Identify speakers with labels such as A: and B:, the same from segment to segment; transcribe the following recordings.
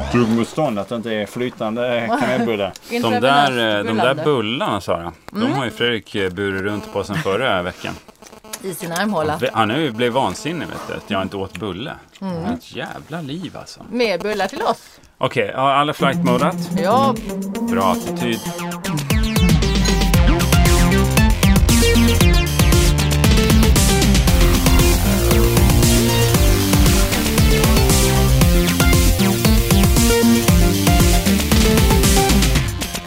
A: tuggmotstånd, att det inte är flytande kanelbullar.
B: Inte
C: De
B: det
C: där, eh, de
B: bullande Mm.
C: där bullarna Sara, de har ju Fredrik eh, burit runt på sen förra veckan.
B: I sin armhåla.
C: Han har ju blivit vansinnig vet du, att jag inte åt bulle.
B: Mm.
C: Ett jävla liv alltså.
B: Mer bullar till oss.
C: Okej, har alla flightmodat?
B: Ja,
C: Mm. Bra attityd.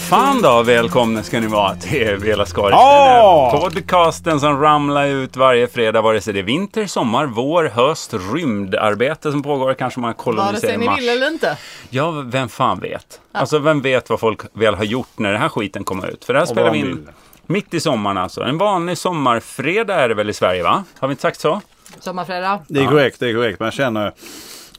C: Fan då, välkomna ska ni vara till Vela Skaris.
A: Ja!
C: Den här Podcasten som ramlar ut varje fredag, vare sig det är vinter, sommar, vår, höst, rymdarbete som pågår, kanske man
B: vare
C: koloniserar
B: sig ni
C: Mars.
B: vill eller inte.
C: Ja, vem fan vet? Alltså, vem vet vad folk väl har gjort när den här skiten kommer ut? För det här spelar
A: vad
C: vi
A: de
C: in
A: vill.
C: mitt i sommaren alltså. En vanlig sommarfredag är det väl i Sverige, va? Har vi inte sagt så?
B: Sommarfredag.
A: Det är korrekt, det är korrekt. Man känner,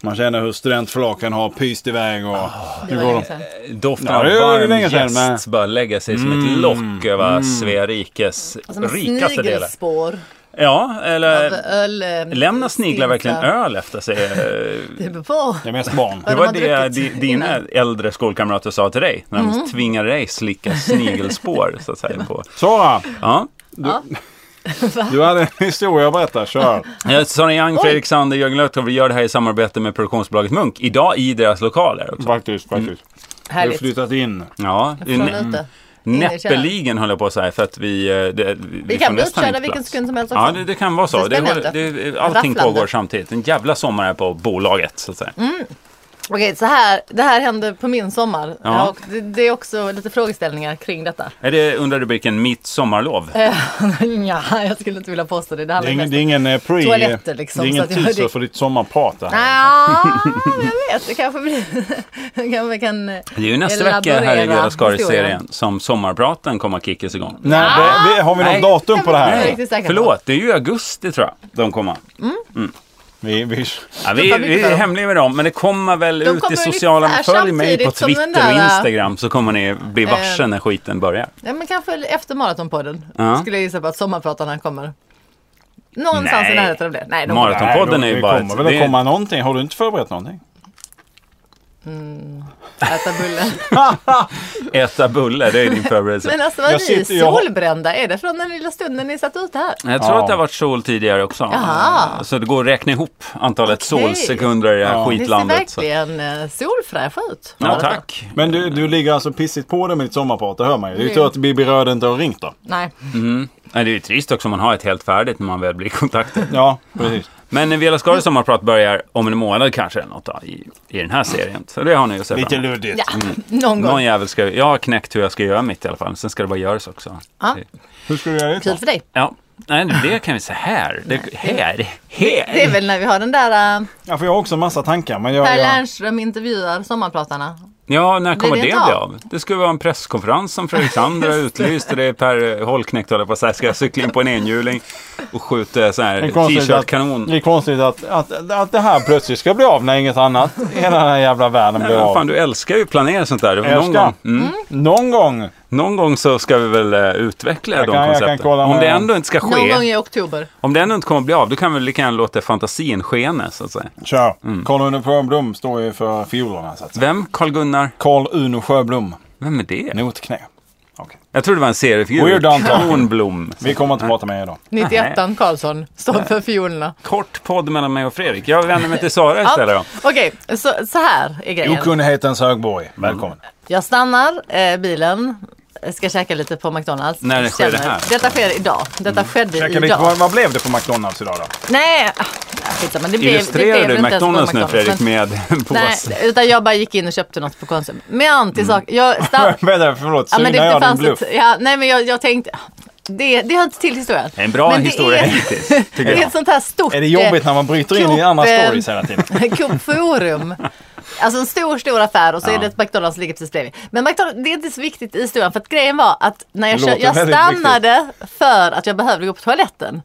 A: man känner hur studentflaken har pyst iväg och
B: Det
C: Ah,
A: hur
B: var
A: går de?
B: länge sedan.
C: Doften
A: Ja,
C: av
A: det är
C: varm
A: länge sedan, men-
C: jäst bara lägga sig som ett lock över Svea rikes
B: Som Alltså, en
C: rikaste delar.
B: snigelspår
C: Ja,
B: av
C: eller
B: öl. eh,
C: lämnar sniglar verkligen
B: stintar.
C: öl efter sig? Eh,
B: Det beror på.
A: Det är mest barn.
C: Det
B: de
C: var
B: har
C: det di-
B: druckit
C: dina
B: innan. Mhm.
C: äldre skolkamrater sa till dig när de tvingade dig slicka snigelspår så att säga. På.
A: Sara,
C: Ja.
A: du hade en historia att berätta. Kör!
C: Jag Sonny Eh, Young, Fredrik Sander, Jörgen Lötgård. Vi gör det här i samarbete med produktionsbolaget Munk. Idag i deras lokaler också.
A: Faktiskt, faktiskt. Du har
B: Härligt.
A: flyttat in.
C: Ja,
B: Från ute. i
C: näppeligen höll jag på att säga för att vi... eh, Det, vi,
B: Vi
C: får
B: kan bli
C: nästan
B: utkörda
C: inte
B: vilken
C: plats.
B: sekund som helst
C: Ja,
B: också.
C: det, det kan vara så.
B: Det
C: Det
B: är
C: var,
B: spännande.
C: det, allting
B: Rafflande. Mm.
C: pågår samtidigt. En jävla sommar här på bolaget så att säga.
B: Okej, så här, det här hände på min sommar.
C: Ja.
B: Ja. Och det, det är också lite frågeställningar kring detta.
C: Är det under rubriken Mitt sommarlov?
B: ja, jag skulle inte vilja påstå det. Det
A: Det är
B: handlar
A: ingen,
B: mest
A: det är ingen eh, pre...
B: Toaletter, liksom,
A: det är
B: så
A: ingen
B: att jag-
A: tid så
B: det-
A: för ditt sommarprat det här.
B: Ja, jag vet. Det kanske blir... Jag kanske kan... eh,
C: Det är ju nästa
B: elaborera
C: vecka här i Vela
B: historien. Mm.
C: Skaris-serien som sommarpraten kommer att kickas igång.
A: Nej,
B: Ah.
A: det, det, har vi
C: Nej.
A: något datum på det
B: Jag är
A: här?
B: inte riktigt säker på.
C: Förlåt, det är ju i augusti tror jag de kommer.
A: Vi, vi,
C: Ja, vi,
B: Fattar mycket
C: vi
B: för
C: är
B: dem.
C: hemliga med dem, men det kommer väl
B: De
C: ut
B: kommer
C: i
B: ungefär
C: sociala medier. Följ mig på
B: samtidigt som
C: Twitter
B: den där,
C: och
B: äh,
C: Instagram så kommer ni bli varse
B: eh,
C: när skiten börjar.
B: Ja, men kanske efter maratonpodden
C: Ja.
B: skulle jag gissa på att sommarpratarna kommer. Någonstans
C: Nej.
B: i närheten av det. Nej, de
C: Maraton.
B: kommer.
A: Nej,
C: Podden
A: det-
C: är ju
A: det
C: bara
A: kommer
C: ett-
A: väl att
C: det är-
A: komma någonting. Har du inte förberett någonting?
B: äta bulle.
C: Äta bulle, det är din förberedelse.
B: Men alltså vad är
A: Jag
B: ni
A: sitter- jag-
B: solbrända? Är det från den lilla stunden ni satt ute här?
C: Jag tror
A: Ja.
C: att det har varit sol tidigare också. Eh,
B: Jaha.
C: Så det går att räkna ihop antalet
B: Okej.
C: solsekunder i det här
A: Ja.
B: Ni ser
C: skitlandet. Så.
B: verkligen eh, solfräscha ut.
C: Ja, tack.
A: Men du, du ligger alltså pissigt på det med ditt sommarprat, det hör man ju. Det är ju
B: Mm.
A: tur att Bibi Röd inte har ringt då.
B: Nej,
C: Mm. Nej, det är ju trist också om man har ett helt färdigt när man väl blir kontaktad.
A: Ja, precis.
C: Men när Vela Skaris sommarprat börjar om en månad kanske eller något då, i, i den här serien. Så det har ni att se fram
A: Lite
C: emot.
A: luddigt.
B: ja, någon gång.
C: Mm. Någon jävel ska Jag har knäckt hur jag ska göra mitt i alla fall. Sen ska det bara göras också.
B: Ja.
A: Hur ska du göra det?
B: Kul för dig.
C: Ja, nej det kan vi säga här. Det, här, här.
B: Det är väl när vi har den där uh,
A: Ja, för jag har också en massa tankar. Men jag,
B: Per
A: jag,
B: Lernström intervjuar sommarpratarna.
C: Ja, när kommer
B: det
C: det, bli
B: inte av?
C: av? Det skulle vara en presskonferens som Fredrik Sander har utlyst och det är Per Holknekt håller på att säga, ska jag cykla in på en enhjuling och skjuta så här
A: det är konstigt, att,
C: t-shirt-kanon?
A: det, är konstigt att, att, att det här plötsligt ska bli av när inget annat i hela den här jävla världen blir
C: Ja, fan,
A: av.
C: du älskar ju att planera sånt där. Någon
A: Älskar.
C: gång, mm,
A: Någon gång.
C: någon gång så ska vi väl eh, utveckla de
A: kan- jag kan
C: koncepten.
A: kolla
C: om
A: med-
C: det ändå inte ska
B: Någon gång
C: ske,
B: i oktober.
C: om det ändå inte kommer att bli av, då kan vi lika gärna låta fantasin skena så att säga.
A: Kör. Carl Uno Sjöblom står ju för fiolerna så att säga.
C: Vem? Carl-Gunnar?
A: Carl Uno Sjöblom.
C: Vem är det?
A: Notknä. Okej.
C: Jag tror det var en seriefigur.
A: Weird antal.
C: Kronblom.
A: Vi kommer inte prata med er idag.
B: 91an Karlsson står för fiolerna.
C: kort podd mellan mig och Fredrik. Jag vänder mig till Sara istället då.
B: Okej, så, så här är grejen.
A: Okunnighetens högborg. Välkommen.
B: Jag stannar eh, bilen, ska käka lite på McDonalds.
C: När det sker det här? Mm.
B: Detta sker idag. Detta skedde
A: Käka lite,
B: idag.
A: vad, vad blev det på McDonalds idag då?
B: Nej, ah, skitsamma. Det blev, det
C: Illustrerar
B: blev
C: du
B: inte ens på
C: McDonalds nu Fredrik
B: men-
C: med en påse?
B: Nej, utan jag bara gick in och köpte något på Konsum. Men till sak, jag stann...
A: Vänta, förlåt.
B: ja,
A: Synar
B: men det, det
A: jag din
B: fanns
A: bluff?
B: ett, ja, Nej men jag, jag tänkte, det, det hör inte till historien.
C: En bra
B: men det
C: historia
B: är-
C: hittills,
B: Det
C: tycker
B: är
C: jag.
B: ett sånt här stort...
A: Är det jobbigt när man bryter in i andra stories hela tiden?
B: Coop-forum. Alltså en stor, stor affär och så är det ett McDonalds som ligger precis bredvid. Men McDonalds, det är inte så viktigt i historien för att grejen var att när jag,
A: Det låter
B: kö- jag
A: väldigt
B: stannade för att jag behövde gå på toaletten.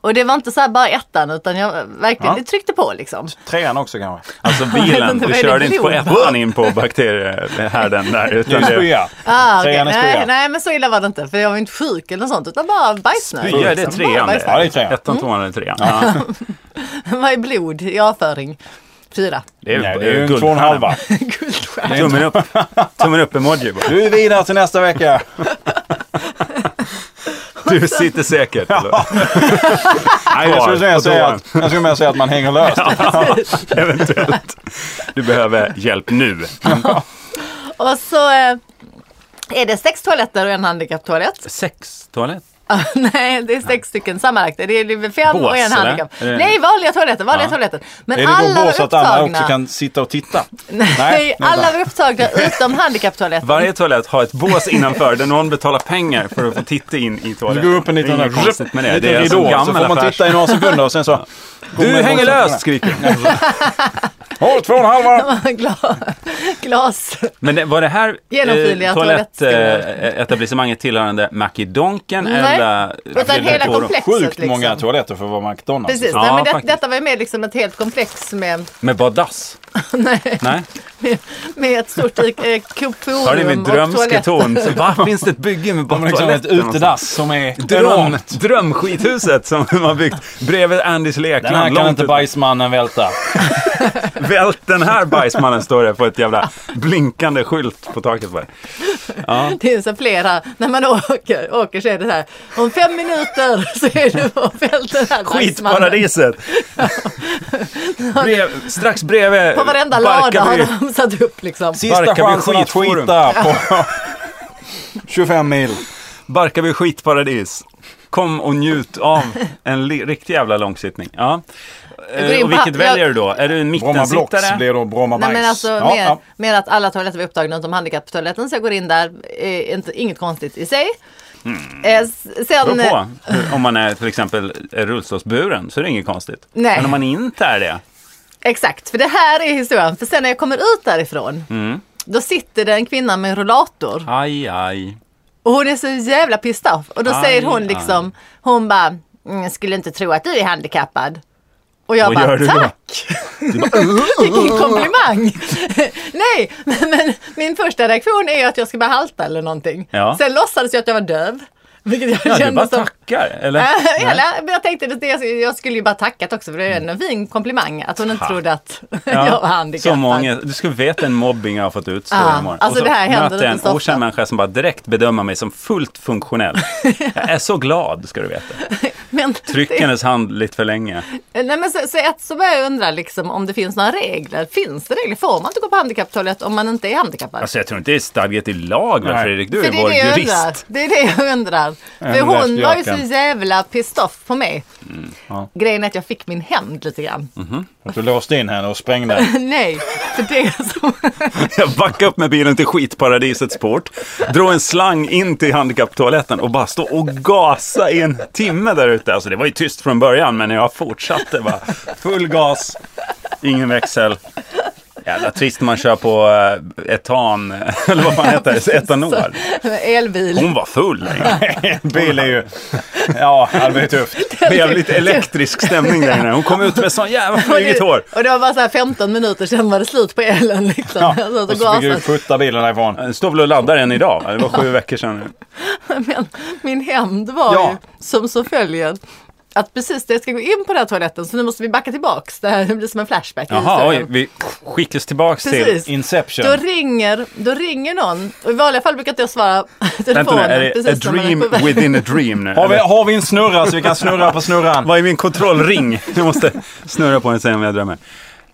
B: Och det var inte så här bara ettan utan jag verkligen
A: Mm. Ja.
B: det tryckte på liksom.
A: Trean också kanske?
C: Alltså
B: Jag vet
C: bilen,
B: inte,
C: du
B: vad är
C: körde
B: det
C: inte på
B: blod?
C: ettan in på bakteriehärden där. Utan
A: Nu
C: det,
A: spyar.
B: Ah, okej.
A: Trean är
B: nej,
A: spya.
B: nej men så illa var det inte för jag var inte sjuk eller något sånt utan bara bajsnödig.
C: Spya, det är
B: liksom. Bara
C: trean det.
B: bajsnödig.
A: Ja, det är trean.
C: Ettan, tvåan eller trean. Ja.
B: Vad är blod i avföring? Fyra.
C: Det är,
D: Nej, det är ju en
C: guldstjärna.
D: två och en halva.
B: Guldstjärna.
C: Tummen upp. Tummen upp-emoji bara.
D: Du är vidare till nästa vecka.
C: Du sitter säkert. Eller?
D: Nej, jag skulle mer
C: och
D: säga
C: drar.
D: att, jag skulle mer säga att man hänger löst.
C: Eventuellt. Du behöver hjälp nu.
B: Och så eh, är det sex toaletter och en handikapptoalett.
C: Sex toalett.
B: Ah, Nej, det är sex stycken sammanlagt. Det är det är fem
C: Bås,
B: och en
C: eller?
B: handikapp.
C: Är det-
B: Nej, vanliga toaletter. Vanliga
C: Ja.
B: toaletter. Men
D: Är det
B: alla
D: då
B: var
D: bås att alla
B: upptagna.
D: också kan sitta och titta?
B: Nej,
D: vänta.
B: alla var upptagna utom handikapptoaletten.
C: Varje toalett har ett bås innanför där någon betalar pengar för att få titta in i
D: Du
C: toaletten.
D: går upp en liten,
C: det är inget konstigt med det.
D: liten
C: Det är som
D: ridå, så
C: gammal
D: får man
C: affärs...
D: titta i några sekunder och sen så...
C: Du hänger löst skriker de.
D: Åh, två och en halva!
B: Gla- Glas.
C: Men det- var det här eh,
B: Genomskinliga toalettstolar.
C: toalettetablissemanget eh, tillhörande Mackie-Donken
B: Nej,
C: eller?
B: utan hela
C: Forum?
B: komplexet.
D: Sjukt
B: liksom.
D: många toaletter för att vara McDonalds.
B: Precis,
C: Ja,
B: Nej, men det,
C: faktiskt.
B: detta var ju med liksom ett helt komplex med,
C: Med badass?
B: nej,
C: Nej.
B: med ett stort eh, kupforum
C: Hör ni min
B: och
C: drömske
B: toalett.
C: ton? Så, Va, finns det ett bygge med
D: De har liksom ett
C: badtoaletter? någonstans?
D: utedass som är
C: Dröm,
D: enormt.
C: drömskithuset som de har byggt bredvid Andys lekland.
D: Den här kan
C: långt
D: inte
C: ut-
D: bajsmannen välta.
C: Vält den här bajsmannen står det på ett jävla blinkande skylt på taket. På det.
B: Det finns så flera. När man åker, åker så är det så här. Om fem minuter så är du på fältet här. bajsmannen.
C: Skitparadiset! Brev, strax bredvid
B: På varenda lada har
C: Barkarby.
B: de satt upp liksom.
D: Sista
C: Barkarby
D: chansen att
C: skitforum.
D: skita på 25 mil.
C: Barkarby skitparadis. Kom och njut av en li- riktig jävla långsittning. Ja.
B: går in
C: Eh, och
B: på-
C: vilket
B: jag-
C: väljer du då? Är du en
D: Bromma Blocks
C: mittensittare?
D: blir då Bromma Bajs.
B: Nej men alltså
D: Ja,
B: mer,
D: ja.
B: mer att alla toaletter var upptagna utom handikapptoaletten så jag går in där. Eh, inte, inget konstigt i sig.
D: Mm.
B: Eh, s-
C: Beror
B: sen,
C: på. Om man är till exempel är rullstolsburen så är det inget konstigt.
B: Nej.
C: Men om man inte är det.
B: Exakt, för det här är historien. För sen när jag kommer ut därifrån,
D: Mm.
B: då sitter det en kvinna med en rullator.
C: Aj, aj.
B: Och hon är så jävla pissed off. Och då
C: Aj,
B: säger hon
C: aj.
B: liksom, hon bara, "Mm, jag skulle inte tro att du är handikappad. Och jag
C: Vad gör du
B: bara,
C: då?
B: tack! Vilken komplimang! Nej, men, men min första reaktion är att jag ska bara halta eller någonting.
C: Ja.
B: Sen låtsades jag att jag var döv. Vilket jag
C: Ja, du
B: kände
C: bara
B: som...
C: tackar. Eller?
B: Äh,
C: Nej.
B: Eller, men jag tänkte att det, jag skulle ju bara tackat också för det är en fin komplimang att hon inte
C: Tack.
B: trodde att
C: Ja,
B: jag var handikappad.
C: Så många, du skulle veta en mobbing jag har fått utstå
B: Ja,
C: i morgon.
B: alltså
C: och
B: det här händer
C: möter jag
B: inte så
C: en
B: ofta.
C: okänd människa som bara direkt bedömer mig som fullt funktionell. jag är så glad, ska du veta.
B: Men,
C: Tryck hennes hand lite för länge.
B: Eh, nej, men så, så ett så börjar jag undra liksom, om det finns några regler. Finns det regler? Får man inte gå på handikapptoalett om man inte är handikappad?
C: Alltså jag tror inte det är stadgat i lag, väl,
D: Nej.
C: Fredrik? Du
B: För
C: är
B: det är
C: vår
B: det jag undrar.
C: jurist.
B: Det är det jag undrar. För
D: En
B: hon var ju så
D: läskjöken.
B: jävla pissed off på mig.
C: Mm,
D: ja.
B: Grejen är att jag fick min hämnd lite grann.
D: Att du låste in henne och sprängde.
B: Nej, för det är som...
C: Jag backade upp med bilen till skitparadiset Sport, drog en slang in till handikapptoaletten och bara stå och gasa i en timme där ute. Alltså det var ju tyst från början, men jag fortsatte bara. Full gas, ingen växel. Jävla trist man kör på eh, etan, eller vad fan heter det, etanol.
B: Elbil.
C: Hon var full.
D: Bil är ju... Ja, det blir tufft.
C: Jävligt elektrisk stämning där inne. Hon kom ut med sån jävla
B: Och det-
C: flugigt hår.
B: Och det var bara så här 15 minuter, sen var det slut på elen liksom.
D: Ja.
B: Jag satt
D: Och
B: och
D: så fick du
B: gasade.
D: skjutsa bilen därifrån.
C: Den står väl och laddar än idag, va? det var sju veckor sedan nu.
B: Men min hämnd var
D: Ja.
B: ju som så följer. Att precis det, jag ska gå in på den här toaletten så nu måste vi backa tillbaks. Det här blir som en flashback. i
C: Jaha, oj,
B: historien.
C: vi skickas tillbaks till
B: Precis.
D: Inception.
B: Då ringer, då ringer någon. Och I vanliga fall brukar inte jag svara
C: Vänta
B: telefonen.
C: nu, är det a
B: precis när man är
C: dream
B: på väg.
C: within a dream nu?
D: Har vi,
C: Eller?
D: har vi en snurra så vi kan snurra på snurran?
C: Vad är min kontrollring? Jag måste snurra på den och säga om jag drömmer.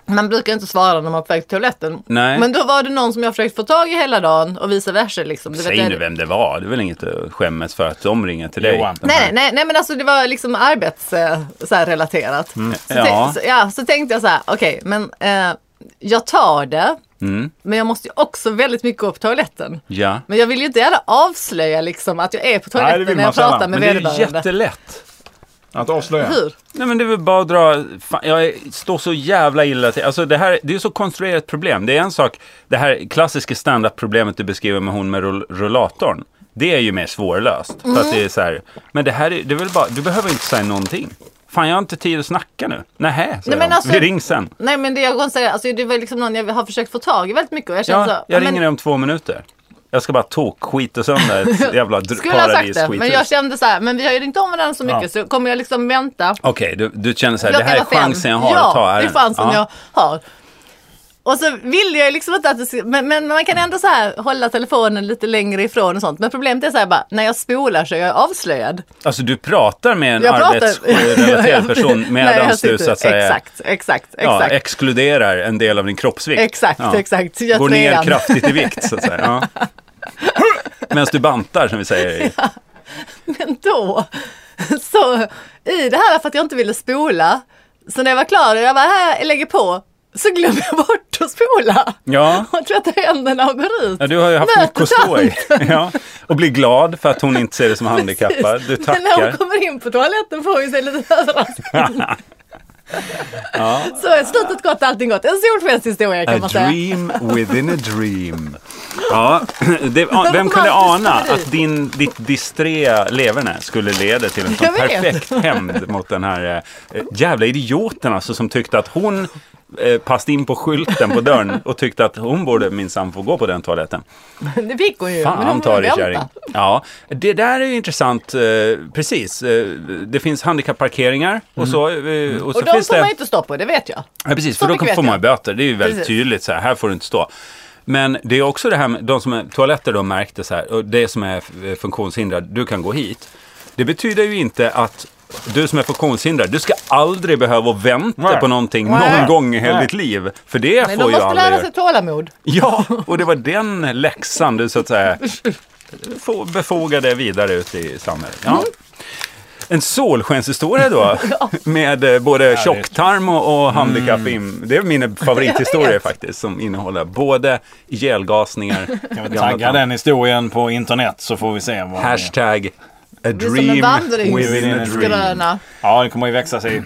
B: Man brukar inte svara när man är på väg till toaletten.
C: Nej.
B: Men då var det någon som jag försökt få tag i hela dagen och vice versa. Liksom. Du vet,
C: Säg
B: jag-
C: nu vem det var, det är väl inget att skämmas för att de ringer till dig?
D: Johan.
C: De här-
B: Nej, nej, nej men alltså det var liksom arbetsrelaterat. Så,
C: Mm, Ja.
B: tänk- så, ja, så tänkte jag så här, okej men eh, jag tar det.
C: Mm.
B: Men jag måste ju också väldigt mycket gå på toaletten.
C: Ja.
B: Men jag vill ju inte gärna avslöja liksom att jag är på
D: Nej, det
B: toaletten
D: vill
B: när jag
D: man sällan.
B: pratar med
C: Men det är ju
B: vederbörande.
C: jättelätt.
D: Att avslöja.
B: Hur?
C: Nej men det är väl bara att dra, fan, jag är- står så jävla illa till. Alltså det här, det är ju så konstruerat problem. Det är en sak, det här klassiska stand-up problemet du beskriver med hon med rull- rullatorn. Det är ju mer svårlöst. För
B: Mm.
C: att det är så här, men det här är, det är väl bara, du behöver inte säga någonting. Fan jag har inte tid att snacka nu. Nähä, säger
B: men
C: hon.
B: alltså-
C: Vi rings sen.
B: Nej men det jag kan säga, alltså, det var liksom någon jag har försökt få tag i väldigt mycket och jag känner så,
C: Ja, jag ringer
B: Alltså, men,
C: dig om två minuter. Jag ska bara tok-skita sönder ett jävla dr-
B: Skulle ha sagt det, men jag
C: paradisskithus.
B: kände så här, men vi har ju inte om varandra så mycket så kommer jag liksom vänta.
C: Okej, du, du känner så här, det
B: Klockan
C: här är
B: var fem.
C: chansen jag har
B: ja,
C: att ta
B: det är chansen jag har. Och så vill jag liksom inte att det ska, men, men man kan ändå så här hålla telefonen lite längre ifrån och sånt. Men problemet är så här bara, när jag spolar så är jag avslöjad.
C: Alltså du pratar med en
B: Jag pratar-
C: arbetsrelaterad person
B: Nej,
C: medan
B: jag
C: du
B: sitter-
C: så att säga
B: Exakt, exakt,
C: ja,
B: exakt.
C: exkluderar en del av din kroppsvikt.
B: Exakt,
C: ja.
B: exakt. Jag
C: Går ner
B: trean.
C: kraftigt i vikt så att säga. Ja. Medan du bantar som vi säger. i-
B: Men då, så i det här för att jag inte ville spola, så när jag var klar och jag var här, jag lägger på, så glömmer jag bort att spola.
C: Ja.
B: Och tvättar händerna och går ut.
C: Ja, du har ju haft
B: Möter
C: mycket att stå i.
B: tant.
C: Ja. Och blir glad för att hon inte ser dig som handikappad. Du
B: Precis. Men när hon
C: tackar.
B: kommer in på toaletten får hon sig lite överraskad. Så i slutet gott, allting gott. En solskenshistoria kan
C: A
B: man säga.
C: dream within a dream. Ja, det,
B: var
C: vem kunde
B: romantisk
C: ana
B: komedi.
C: att din, ditt disträ leverne skulle leda till en sån
B: Jag vet.
C: perfekt hämnd mot den här eh, jävla idioten alltså, som tyckte att hon eh, passade in på skylten på dörren och tyckte att hon borde minsann få gå på den toaletten.
B: Det fick hon ju. men
C: Fan
B: hon
C: ta dig
B: vänta.
C: kärring. Ja, det där är ju intressant. Eh, precis, eh, det finns handikappparkeringar och så, eh, och så
B: Mm. Och de
C: finns
B: får
C: det...
B: man ju inte stå på, det vet jag.
C: Ja, precis,
B: Så
C: för då
B: mycket
C: kan,
B: vet
C: får man ju
B: jag.
C: böter. Det är ju väldigt
B: Precis.
C: tydligt så här, här får du inte stå. Men det är också det här med de som är toaletter då märkte så här, och det som är eh, funktionshindrad, du kan gå hit. Det betyder ju inte att du som är funktionshindrad, du ska aldrig behöva vänta
D: Nej.
C: på någonting
B: Nej.
C: någon gång i hela
D: Nej.
C: ditt liv. För det
B: Men
C: får
B: de
C: ju
B: måste lära
C: aldrig...
B: sig tålamod.
C: Ja, och det var den läxan du så att säga få- befogade vidare ut i samhället.
B: Mm.
C: Ja. En solskenshistoria då, med eh, både tjocktarm och, och handikapp.
D: Mm.
C: in- Det är mina
B: Jag
C: favorithistorier
B: vet.
C: faktiskt, som innehåller både ihjälgasningar,
D: Kan vi
C: gamla
D: tagga
C: plan-
D: den historien på internet så får vi se vad
C: hashtag a
B: Det är som en
C: dream within a dream.
B: vandringsgröna.
D: Ja, den kommer ju växa sig,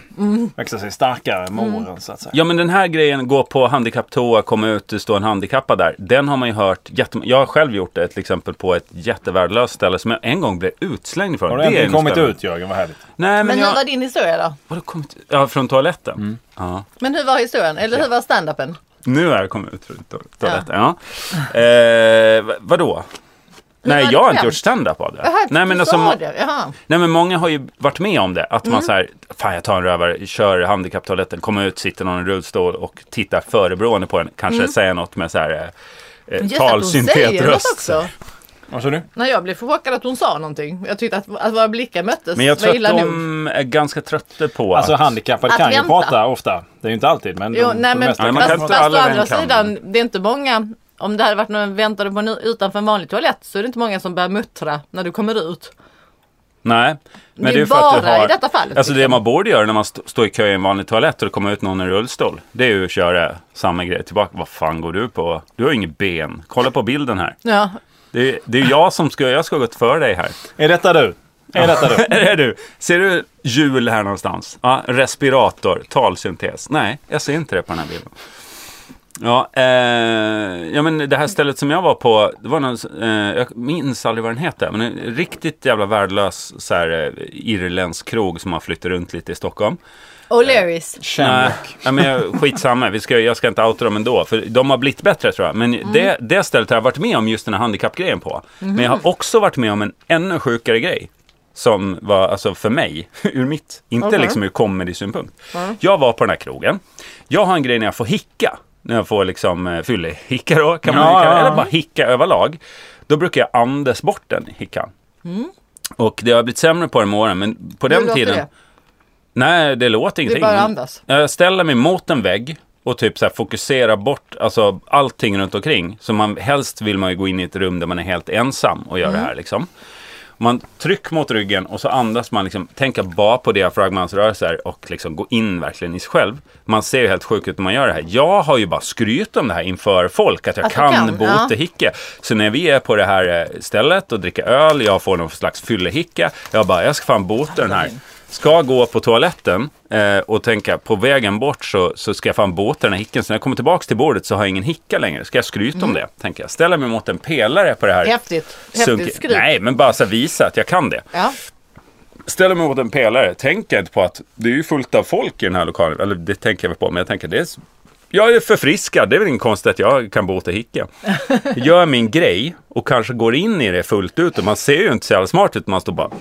D: växa sig starkare med
B: Mm.
D: åren så att säga.
C: Ja men den här grejen, gå på handikapptoa, komma ut, det står en handikappad där. Den har man ju hört jättemånga, jag har själv gjort det till exempel på ett jättevärdelöst ställe som jag en gång blev utslängd från.
D: Har du
C: Det är
D: äntligen
C: nog
D: kommit
C: spännande.
D: ut Jörgen? Vad härligt.
C: Nej men,
B: Men hur
C: jag...
B: var din historia då?
C: Vadå kommit ut? Ja, från toaletten?
D: Mm.
C: Ja.
B: Men hur var historien? Eller hur var standupen?
C: Nu har jag kommit ut från to- toaletten. Ja. Eh, va- vadå? Nej,
B: var
C: jag
B: det
C: har inte
B: skämt?
C: gjort stand-up av det.
B: Jaha,
C: nej, men
B: du
C: alltså,
B: sa
C: må-
B: det. Jaha.
C: nej, men många har ju varit med om det.
B: Mm.
C: Att man så här, fan jag tar en rövare, kör handikapptoaletten, kommer ut, sitter någon i rullstol och tittar förebrående på den. Kanske säger något med så här eh, eh,
B: Just att hon Mm. säger något
C: talsyntetröst.
B: också.
D: Vad sa du?
B: När jag blev chockad att hon sa någonting. Jag tyckte att, att våra blickar möttes
C: Men jag
B: var
C: tror
B: illa
C: att
B: nog.
C: de är ganska trötta på
D: Alltså
C: att...
D: handikappade
B: Att
D: kan ju
B: vänta.
D: prata ofta. Det är ju inte alltid men
B: Jo,
D: de,
B: nej
D: de
B: men
D: mesta
C: Nej,
B: fast,
D: kan
C: man kan
D: prata.
B: fast
C: inte
B: å
C: alla över
B: andra
C: en kam.
B: sidan, det är inte många. Om det hade varit någon väntade på en utanför en vanlig toalett så är det inte många som börjar muttra när du kommer ut.
C: Nej, men
B: Det
C: det
B: är
C: är ju för att du
B: bara i
C: har...
B: detta fallet, liksom.
C: Alltså det man borde göra när man st- står i kö i en vanlig toalett och det kommer ut någon i rullstol. Det är ju att köra samma grej tillbaka. Vad fan går du på? Du har ju inget ben. Kolla på bilden här.
B: Ja,
C: Det är, det är ju jag som ska... Jag ska ha gått före dig här.
D: Är detta du? Är detta du?
C: Här är du. Ser du hjul här någonstans? Ja, respirator, talsyntes. Nej, jag ser inte det på den här bilden. Ja, eh, ja, men det här stället som jag var på, det var någon, eh, jag minns aldrig vad den heter, men en riktigt jävla värdelös så här, eh, irländsk krog som har flyttat runt lite i Stockholm.
B: O'Learys.
D: Känn.
C: Nej, men jag, skitsamma. Vi ska, jag ska inte outa dem ändå, för de har blivit bättre tror jag.
B: Mm.
C: Men det, det stället har jag varit med om just den här handikappgrejen på. Men jag
B: Mhm.
C: har också varit med om en ännu sjukare grej. Som var, alltså för mig, ur mitt, inte
B: Okej.
C: liksom ur comedy-synpunkt. Jag var på den här krogen. Jag har en grej när jag får hicka. När jag får liksom eh, fyllehicka då, kan man
D: Ja,
C: hicka,
D: ja, ja.
C: eller bara hicka överlag. Då brukar jag andas bort den hickan. Och det har blivit sämre på det med åren, men på
B: Hur
C: den
B: Mm. låter
C: tiden...
B: det?
C: Nej, det låter ingenting.
B: bara andas.
C: Jag ställer mig mot en vägg och typ så här fokuserar bort alltså, allting runt omkring. Så man, helst vill man ju gå in i ett rum där man är helt ensam och göra
B: Mm.
C: det här liksom. Man trycker mot ryggen och så andas man liksom, tänka bara på diafragmans rörelser och liksom gå in verkligen i sig själv. Man ser ju helt sjuk ut när man gör det här. Jag har ju bara skryt om det här inför folk, att jag
B: Att du
C: kan,
B: Alltså, kan,
C: bot
B: ja.
C: och hicka. Så när vi är på det här eh, stället och dricker öl, jag får någon slags fyllehicka. Jag bara, jag ska fan bota den här. Ska gå på toaletten eh, och tänka, på vägen bort så, så ska jag fan bota den här hicken. Så när jag kommer tillbaka till bordet så har jag ingen hicka längre. Ska jag skryta om det? Tänker jag. Ställa mig mot en pelare på det här.
B: Häftigt.
C: sunkiga-
B: Häftigt skryt.
C: Nej, men bara så här visa att jag kan det
B: Ja.
C: ställer mig mot en pelare, tänker inte på att det är ju fullt av folk i den här lokalen. Eller det tänker jag väl på, men jag tänker det är, s- jag är förfriskad. Det är väl ingen konstigt att jag kan bota hicka. Gör min grej och kanske går in i det fullt ut. Och man ser ju inte så jävla smart ut. Man står bara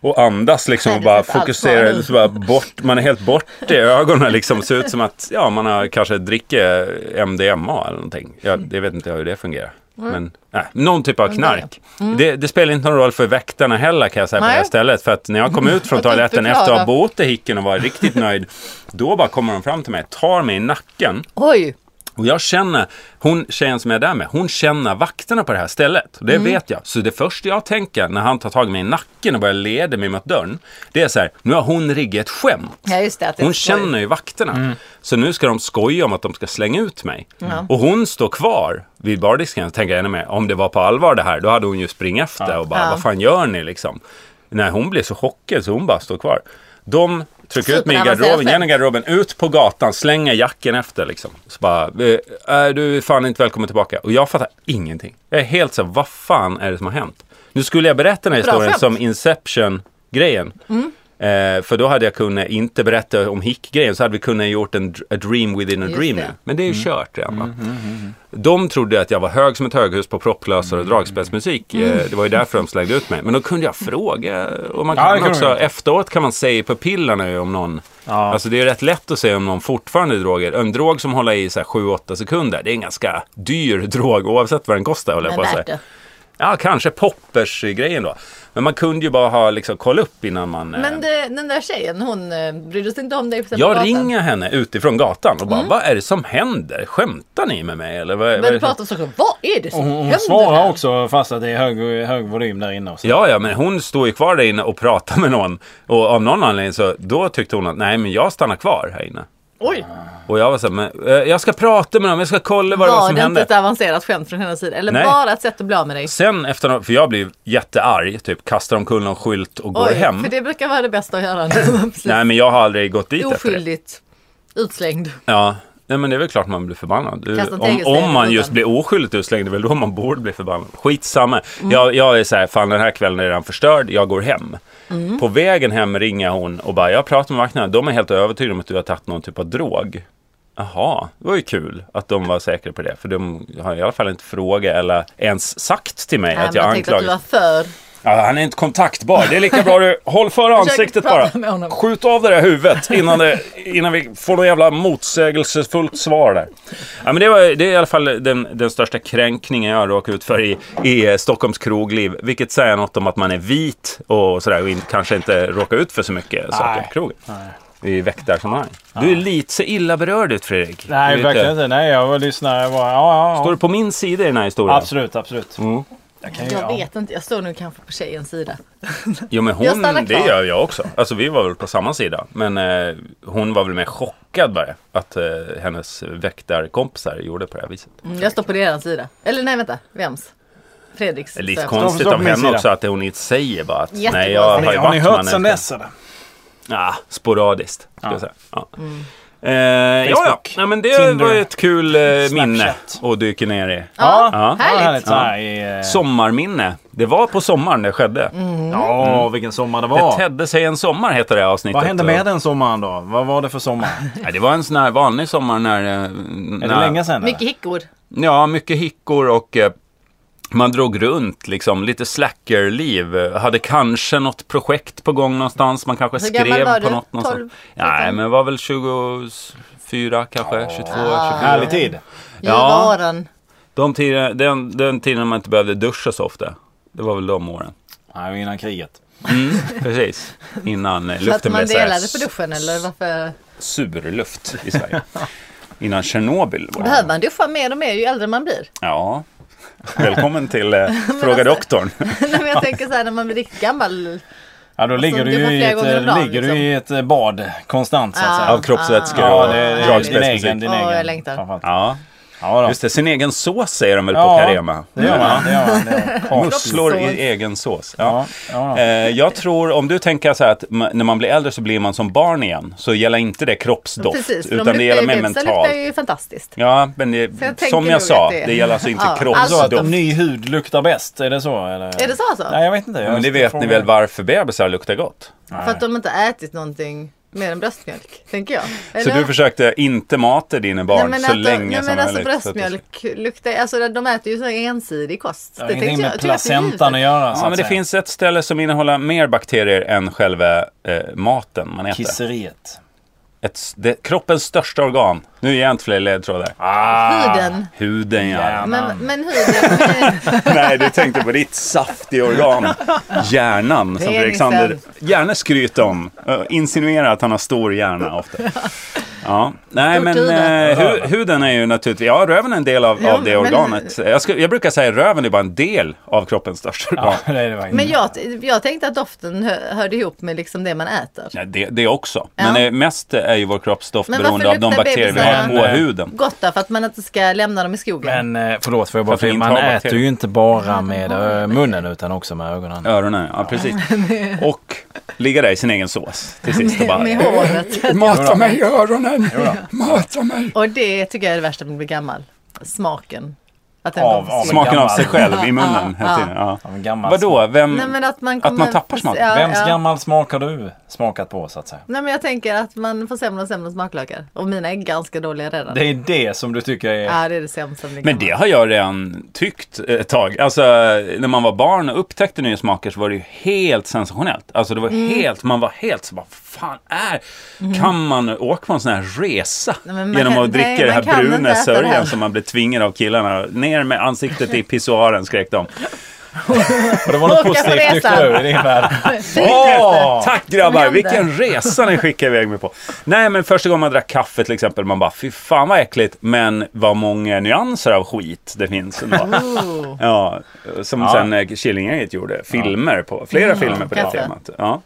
C: och andas liksom
B: Nej,
C: och
B: det
C: bara
B: sätter allt kvar
C: fokusera.
B: nu.
C: Så bara bort, man är helt bort i ögonen liksom. Ser ut som att ja, man har kanske dricker MDMA eller någonting. Jag, jag vet inte hur det fungerar. Men nej, någon typ av knark. Det, det spelar inte någon roll för väktarna heller kan jag säga på det här
B: Nej.
C: stället. För att när jag kom ut från
B: Jag tänkte
C: toaletten efter att ha
B: förklara.
C: bott i hicken och var riktigt nöjd. Då bara kommer de fram till mig, tar mig i nacken.
B: Oj,
C: Och jag känner, hon tjejen som jag är där med, hon känner vakterna på det här stället. Och Det vet jag. Så det första jag tänker när han tar tag i mig i nacken och börjar leda mig mot dörren, det är så här, nu har hon riggat ett skämt.
B: ja just det. Att det
C: Hon
B: är skoj.
C: känner ju vakterna. Så nu ska de skoja om att de ska slänga ut mig.
B: Mm.
C: Och hon står kvar vid bardisken och tänker ännu mer, om det var på allvar det här, då hade hon ju springa efter och bara,
B: Ja.
C: vad fan gör ni liksom? När hon blir så chockad så hon bara står kvar. De trycker ut mig i
B: Superavancerat
C: garderoben,
B: skämt.
C: genom garderoben, ut på gatan, slänger jacken efter liksom. Så bara, eh, är du är fan inte välkommen tillbaka. Och jag fattar ingenting. Jag är helt så här, vad fan är det som har hänt? Nu skulle jag berätta den här
B: Bra
C: historien
B: skämt.
C: som Inception-grejen. Eh, för då hade jag kunnat inte berätta om hick-grejen så hade vi kunnat gjort en dr- a dream within a
B: Just
C: dream
B: det.
C: nu. Men det är ju kört redan va? De trodde att jag var hög som ett höghus på propplösare och dragspelsmusik. Eh, det var ju därför de slängde ut mig. Men då kunde jag fråga. Och man
D: Ja, det
C: kan
D: kan
C: också,
D: man göra.
C: efteråt kan man säga på pillarna ju om någon.
D: Ja.
C: Alltså det är rätt lätt att säga om någon fortfarande är droger. En drog som håller i så här 7-8 sekunder. Det är en ganska dyr drog oavsett vad den kostar håller
B: Men
C: jag på att säga.
B: värt det.
C: Ja, kanske poppers-grejen då. Men man kunde ju bara ha liksom koll upp innan man... eh,
B: Men det, den där tjejen, hon eh, brydde sig inte om dig på
C: jag
B: gatan. Mm.
C: ringer henne utifrån gatan och bara, vad är det som händer? Skämtar ni med mig eller? Vad, vad
B: Men
C: är det
B: du
C: som...
B: pratar så sjukt. Vad är det som
D: Och hon, hon
B: händer
D: svarar
B: här?
D: också fast att det är hög, hög volym där inne. Och så.
C: Ja, ja, men hon står ju kvar där inne och pratar med någon. Och av någon anledning så, då tyckte hon att, nej men jag stannar kvar här inne.
B: Oj,
C: Och jag var så här, men eh, jag ska prata med dem, jag ska kolla vad det var
B: var
C: som
B: det inte
C: hände.
B: ett avancerat skämt från hennes sida? Eller
C: Nej.
B: bara ett sätt att bli av med dig?
C: Sen efter, för jag blev jättearg, typ kastar omkull någon skylt och går hem.
B: för det brukar vara det bästa att göra när man precis
C: Nej, men jag har aldrig gått dit efter det.
B: oskyldigt utslängd.
C: Ja, nej, men det är väl klart man blir förbannad. Du,
B: Kasta
C: om,
B: tegelstenar
C: om
B: på
C: man
B: gubben.
C: just blir oskyldigt utslängd, det är väl då man borde bli förbannad. Skitsamma.
B: Mm.
C: Jag, jag är så här, fan den här kvällen är redan förstörd, jag går hem.
B: Mm.
C: På vägen hem ringer hon och bara, jag pratar med vakterna, de är helt övertygade om att du har tagit någon typ av drog. Jaha, det var ju kul att de var säkra på det. För de har i alla fall inte frågat eller ens sagt till mig
B: Nej,
C: att
B: men
C: jag
B: tänkte att du
C: anklagas.
B: var för...
C: Ja, han är inte kontaktbar. Det är lika bra du håll för ansiktet
B: prata
C: bara.
B: med honom.
C: Skjut av det där huvudet innan, det, innan vi får något jävla motsägelsefullt svar där. Ja, men det, var, det är i alla fall den, den största kränkningen jag har råkat ut för i, i eh, Stockholms krogliv. Vilket säger något om att man är vit och sådär och in, kanske inte råkar ut för så mycket saker
D: Nej.
C: på krogen. I väktarsammanhang. Du är lite så illa berörd ut Fredrik. Du är
D: Nej,
C: lite-
D: verkligen inte. Nej, jag var lyssnare. Jag bara, ja, ja,
C: Står
D: ja.
C: du på min sida i den här historien?
D: Absolut, absolut.
C: Mm.
D: Jag kan ju,
B: Jag
D: ja.
B: vet inte, jag står nu kanske på tjejens sida.
C: Jo men
B: Jag
C: hon,
B: stannar
C: det
B: kvar.
C: gör jag också. Alltså vi var väl på samma sida. Men eh, hon var väl mer chockad bara. Att eh, hennes väktarkompisar gjorde på det här viset.
B: Mm, Jag står på deras sida. Eller nej vänta, vems? Fredriks.
C: Det är
B: sa
C: lite
B: jag.
C: konstigt
D: förstår på
C: av
D: min
C: henne
D: sida.
C: också att hon inte säger bara att
B: Jättekonstigt.
C: nej jag
D: Har
C: har
D: ni,
C: ju
D: har ni
C: varit
D: hört sen
C: mannen.
D: dess eller?
C: Ja, sporadiskt. Ska
D: Ja.
C: jag säga. Ja.
B: Mm.
C: Eh, ja, ja.
D: Facebook,
C: Nej, men det
D: Tinder,
C: var ju ett kul eh, minne
D: Snapchat.
C: att dyka ner i.
B: Ja,
C: Ja.
D: Ja,
B: härligt.
D: Så här i, eh,
C: Sommarminne. Det var på sommaren det skedde.
B: Mm.
D: Ja, vilken sommar det
C: Det
D: var.
C: tedde sig en sommar heter det här avsnittet.
D: Vad hände
C: Och-
D: med den sommaren då? Vad var det för sommar?
C: Ja, det var en sån här vanlig sommar när... eh, Är
D: Är det länge sedan? eller?
B: Mycket hickor.
C: Ja, mycket hickor och eh, man drog runt liksom, lite slackerliv. Eh, Hade kanske något projekt på gång någonstans. Man kanske
B: Hur gammal
C: skrev
B: var
C: på
B: du? liksom?
C: något någonstans.
B: 12,
C: Nej,
B: 13?
C: men var väl 24 kanske, 22,
B: Ah.
C: 24.
D: Härlig tid.
B: Ja.
C: Ja.
B: Varan.
C: De tiden, den, den tiden man inte behövde duscha så ofta. Det var väl de åren.
D: Nej, innan kriget.
C: Mm, precis. Innan eh,
B: För att
C: luften
B: man
C: blev så här
B: delade på duschen eller varför?
C: sur luft i Sverige. Innan Tjernobyl. var det.
B: Behöver man duscha mer och mer ju äldre man alltså- blir?
C: Ja. Välkommen till eh, Fråga doktorn.
B: Nej, men jag tänker så här när man blir riktigt gammal.
D: Ja, då ligger du,
B: det var
D: ju i
B: flera
D: ett,
B: gånger om dagen,
D: ligger du
B: liksom.
D: i ett eh, bad konstant så att
B: Ja.
D: säga.
C: Av kroppsvätskor
D: Ja,
C: och
D: det är din
C: dragspelsmusik.
D: egen. Din
B: Åh,
D: egen
B: jag längtar.
D: framförallt.
C: Ja,
D: Ja, då.
C: just det. Sin egen sås säger de väl på
D: Ja,
C: Carema?
D: Det gör man. Det gör man, det gör man.
C: Musslor i
B: Kroppssås.
C: egen sås.
D: Ja,
C: Ja.
D: ja, ja.
C: Eh, jag tror, om du tänker så här att ma- när man blir äldre så blir man som barn igen, så gäller inte det kroppsdoft,
B: Precis, för de
C: utan det
B: luktar
C: gäller
B: ju
C: mer
B: bebisar luktar
C: mentalt.
B: ju fantastiskt.
C: Ja, men det,
B: Så jag tänker
C: som
B: nog
C: jag
B: att
C: sa,
B: det
C: det,
B: är-
C: gäller alltså inte
B: Ja,
D: Så att
C: kroppsdoft.
B: alltså-
D: ny hud luktar bäst, är det så? Eller?
B: Är det så alltså?
D: Nej, jag vet inte. Jag
C: men det
D: ska
C: vet
D: fråga.
C: ni väl varför bebisar luktar gott?
B: För att de inte ätit någonting. mer än bröstmjölk, tänker jag.
C: Så du försökte inte mata dina barn så
B: att-
C: länge
B: nej,
C: som
B: men alltså
C: möjligt? så att du-
B: bröstmjölk luktar alltså de äter ju så ensidig kost.
A: Det har ingenting
B: tänkte
A: med
B: jag- tog jag för
A: placentan att
B: givet.
A: göra. så att
C: Ja, men det
A: säga.
C: finns ett ställe som innehåller mer bakterier än själva eh, maten man äter.
A: Kisseriet.
C: Ett, s- det, kroppens största organ. Nu ger jag inte fler ledtrådar.
B: Huden.
C: Huden, ja.
A: Hjärnan.
B: Men, men huden,
C: Nej, du tänkte på ditt saftiga organ. Hjärnan, som
B: Penisen.
C: Fredrik Sander gärna skryter om. Ö, Insinuerar att han har stor hjärna ofta. Ja. Nej,
B: Stort
C: men
B: huvud.
C: eh, hu huden är ju naturligtvis... Ja, röven är en del av,
B: Ja,
C: av det
B: men-
C: organet. Jag, ska, jag brukar säga röven är bara en del av kroppens största organ.
A: Ja, Ah. det är det verkligen.
B: men jag, jag tänkte att doften hö, hörde ihop med liksom det man äter.
C: Ja, det, det också.
B: Ja.
C: Men eh, mest är ju vår kroppsdoft
B: Men
C: beroende
B: varför
C: av de
B: luktar
C: bakterier vi har
B: bebisarna?
C: på huden.
B: Gott då, för att man inte ska lämna dem i skogen.
A: Men eh, förlåt, för jag bara
C: För att
A: för
C: inte
A: man
C: ha
A: äter
C: bakterier.
A: ju inte bara med eh, munnen utan också med ögonen.
C: Öronen, ja precis. Och ligga där i sin egen sås till sist och bara...
B: Med håret.
C: Mata mig i öronen! Mata mig!
B: Och det tycker jag är det värsta med att bli gammal. Smaken. Att den
A: Av-
B: kommer för
A: av-
B: sent.
C: Smaken av
A: Gammal.
C: sig själv i munnen. hela tiden, Ja.
A: Av en gammal smak.
C: Vadå, vem...
B: Nej, men att man,
C: Att man
B: kommer-
C: tappar smaken.
B: Ja,
A: Vems
B: ja.
A: gammal smak har du smakat på så att säga?
B: Nej men jag tänker att man får sämre och sämre smaklökar. Och mina är ganska dåliga redan.
A: Det är det som du tycker är...
B: Ja det är det sämsta med
C: Men det har jag redan tyckt ett tag. Alltså när man var barn och upptäckte nya smaker så var det ju helt sensationellt. Alltså det var
B: Mm.
C: helt, man var helt så bara, fan är, kan man åka på en sån här resa
B: Nej, men man
C: genom
B: kan-
C: att dricka
B: nej,
C: det här
B: man kan inte
C: bruna
B: äta det här.
C: sörjan som man blev tvingad av killarna. Ner med ansiktet i pissoaren skrek de.
A: Och det var något
B: Åka på
A: positivt
B: resan.
A: du upp i din värld.
C: Åh, tack grabbar,
B: Som hände.
C: vilken resa ni skickade iväg mig på. Nej men första gången man drack kaffe till exempel, man bara fy fan vad äckligt, men vad många nyanser av skit det finns ändå.
B: Oh.
C: Ja, som
A: Ja.
C: sen eh, Killinggänget gjorde filmer på, flera filmer på det
B: kaffe.
C: temat. Ja.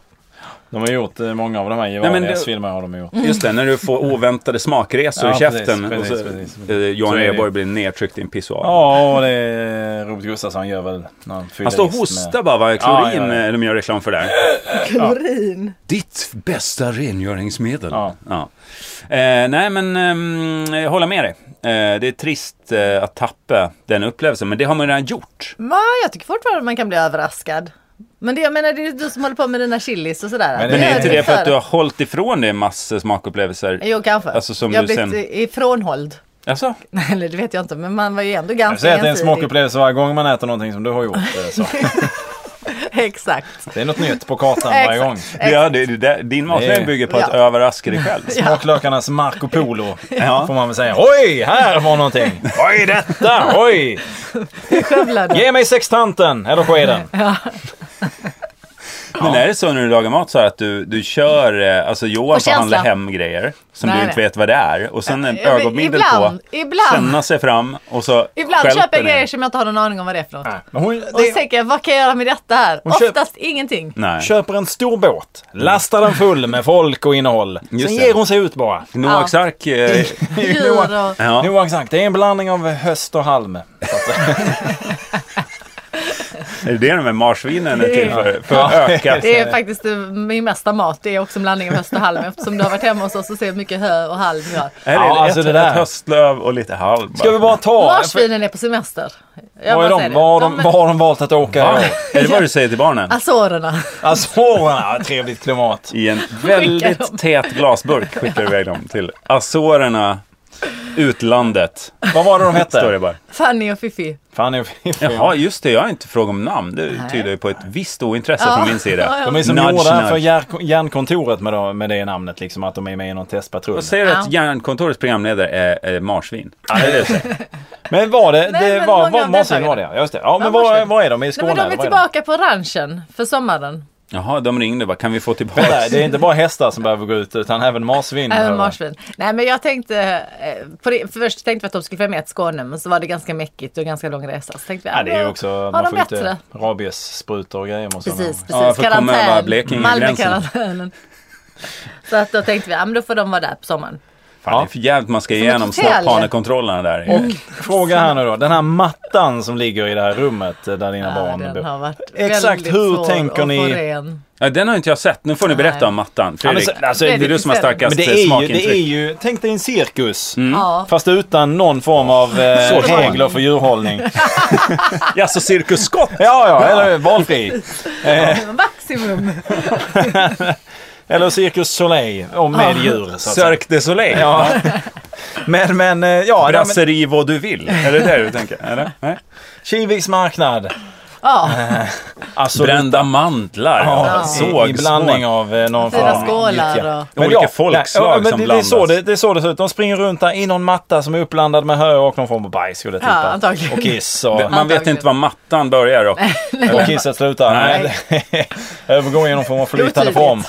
A: De har gjort eh, många av de här
C: men det-
A: Gevalias-filmerna har de gjort.
C: Just det, när du får oväntade smakresor
A: Mm. Ja,
C: i käften
A: precis,
C: och så,
A: precis, precis.
C: eh,
A: Så
C: Johan
A: är det.
C: Rheborg blir nedtryckt i en pissoar.
A: Ja, och det är Robert Gustafsson gör väl när han fyller
C: Han står och
A: is med-
C: hostar bara, va? klorin
A: Ja, ja, ja.
C: eh, de gör reklam för där.
B: Klorin.
C: Ditt bästa rengöringsmedel.
A: Ja.
C: Eh, nej, men ehm, jag håller med dig. Eh, det är trist eh, att tappa den upplevelsen, men det har man redan gjort.
B: Ja jag tycker fortfarande att man kan bli överraskad. Men det jag menar det är du som håller på med dina chilis och sådär.
A: Men
C: Men
A: det
C: är
A: är
C: inte
A: det
C: det för att du
B: har...
C: har hållit ifrån dig massor smakupplevelser?
B: Jo kanske.
C: Alltså, som
B: jag
C: du
B: har blivit
C: sen-
B: ifrånhålld.
C: Alltså?
B: Eller det vet jag inte men man var ju ändå
A: Jag
B: ganska
A: säger att det är en
B: ensidig.
A: smakupplevelse varje gång man äter någonting som du har gjort. eh, Så.
B: Exakt.
A: Det är något nytt på kartan varje gång.
C: Ja, det, det, där- din matlagning
A: Det-
C: bygger på att
B: Ja.
C: överraska dig själv.
A: Smaklökarnas Marco Polo
C: Ja.
A: får man väl säga. Oj, här var någonting! Oj, detta! Oj!
B: Skövlade.
A: Ge mig sextanten eller skeden.
C: Men är det så när du lagar mat så här att du, du kör, eh, alltså Johan
B: Och
C: får
B: känsla.
C: handla hem grejer som
B: Nej,
C: du inte
B: nej.
C: vet vad det är och sen en
B: Ja, men
C: ögonbindel på,
B: ibland, ibland.
C: känna sig fram och så
B: Ibland
C: stjälper
B: köper jag
C: ni.
B: grejer som jag inte har någon aning om vad det är för något.
A: Men hon
B: Och så
A: det,
B: tänker jag, vad kan jag göra med detta här?
A: Hon köp-
B: Oftast ingenting.
C: Nej.
A: köper en stor båt, lastar den full med folk och innehåll.
C: Just
A: Sen
C: det.
A: ger hon sig ut bara.
C: Noaks ark. eh,
B: Djur och...
C: Ja.
A: Noaks ark, det är en blandning av höst och halm.
C: Är det det de här marsvinen är till för? För
A: Ja.
C: att öka?
B: Det är faktiskt eh, min mesta mat, det är också en blandning av höst och halm. Eftersom du har varit hemma hos oss och ser hur mycket hö och halm vi har.
C: Är det
A: Ja, alltså
C: ett,
A: det där.
C: ett höstlöv och lite halm?
A: Ska vi bara ta...
B: Marsvinen är på semester. Jag
A: Var, är
B: bara
A: de?
B: säger det.
A: Var, har de,
B: är-
A: var har de valt att åka i
C: Ja.
A: år?
C: Är det vad du säger till barnen?
B: Alltså, Azorerna.
A: Azorerna, trevligt klimat.
C: I en väldigt
B: dem.
C: tät glasburk skickar du iväg dem till Azorerna, utlandet.
A: Vad var det de
C: Står det
A: hette?
C: bara.
B: Fanny och Fifi.
A: Fanny och Fiffi.
C: Jaha, just det. Jag har inte frågat om namn. Det tyder ju på ett visst ointresse
B: Ja.
C: från min
B: Ja,
C: sida.
B: ja.
A: De är som
C: Nudge,
A: gjorda
C: nudge.
A: för järn- järnkontoret med, de- med det namnet liksom, att de är med i någon testpatrull.
C: Vad säger du att
B: Ja.
C: Järnkontorets programledare är, är marsvin? Ja, det är det.
A: Men var det,
B: Nej,
A: det
B: men
A: var,
B: många
A: var,
B: av
A: Marsin
B: deltagarna.
A: var det ja, just det. Ja men
B: Ja,
A: var,
B: Marsin.
A: var är de? I Skåne?
B: Nej, men de
A: eller
B: är
A: var
B: tillbaka på ranchen för sommaren.
C: Jaha, de ringde bara. Kan vi få
A: de?
C: tillbaka?
A: Nej, det är inte bara hästar som behöver gå ut utan även marsvin.
B: Även
A: behöver.
B: marsvin. Nej men jag tänkte, eh, på det, först tänkte vi att de skulle följa med till Skåne men så var det ganska mäckigt och ganska lång resa. Så tänkte vi,
A: Ja, det är ju
B: men
A: också,
B: har
A: man
B: de
A: får ju inte
B: bättre?
A: rabiessprutor och grejer. måste man ha.
B: Precis, precis.
C: Ja, för att komma över Blekingegränsen.
B: Malmökarantänen. Så att då tänkte vi, ja men då får de vara där på sommaren.
C: Fan, det är för jävligt man ska
B: ett
C: igenom
B: hotell.
C: snart. där.
A: Fråga här nu då, den här mattan som ligger i det här rummet där dina barn
B: den
A: bor.
B: har varit
A: Exakt
B: väldigt
A: hur
B: svår
A: tänker
B: att få
A: ni? Mm.
B: ren.
C: Ja, den har inte jag sett. Nu får ni berätta
B: Nej.
C: om mattan.
A: men
C: Fredrik,
A: så- alltså,
C: det är
B: Fredrik
C: du som har
B: istället.
C: starkast
A: Men det är, ju, det är
C: smakintryck. Mm.
A: ju, tänk dig en cirkus.
B: Ja.
A: Fast utan någon form av eh,
C: Sorts barn.
A: regler för djurhållning.
C: Jaså, Cirkus Scott?
A: Ja, ja, eller valfri.
B: Maximum.
A: Eller Cirkus Soleil. Och med djur. Så att säga.
C: Cirque du Soleil.
A: Ja. Men, men, eh, ja. nej, men-
C: Brasserie vad du vill. Är det det du tänker? Eller? Nej.
A: Kiviks marknad.
B: Ja,
A: Alltså,
C: Brända mantlar.
A: Ja,
C: Såg,
A: i, i blandning av eh, någon
B: fyra
A: form av
B: skålar och...
C: Olika folkslag
A: nej, ja, men det,
C: som
A: det är
C: blandas.
A: så det, det är så det ser ut. De springer runt där i någon matta som är uppblandad med hö och någon form av bajs skulle jag
B: Ja,
A: tippa.
B: antagligen.
A: Och kiss och,
C: Man vet inte var mattan börjar dock.
A: och kisset slutar.
C: Nej.
A: Nej. Övergång i någon form av flytande
B: Otydligt.
A: form.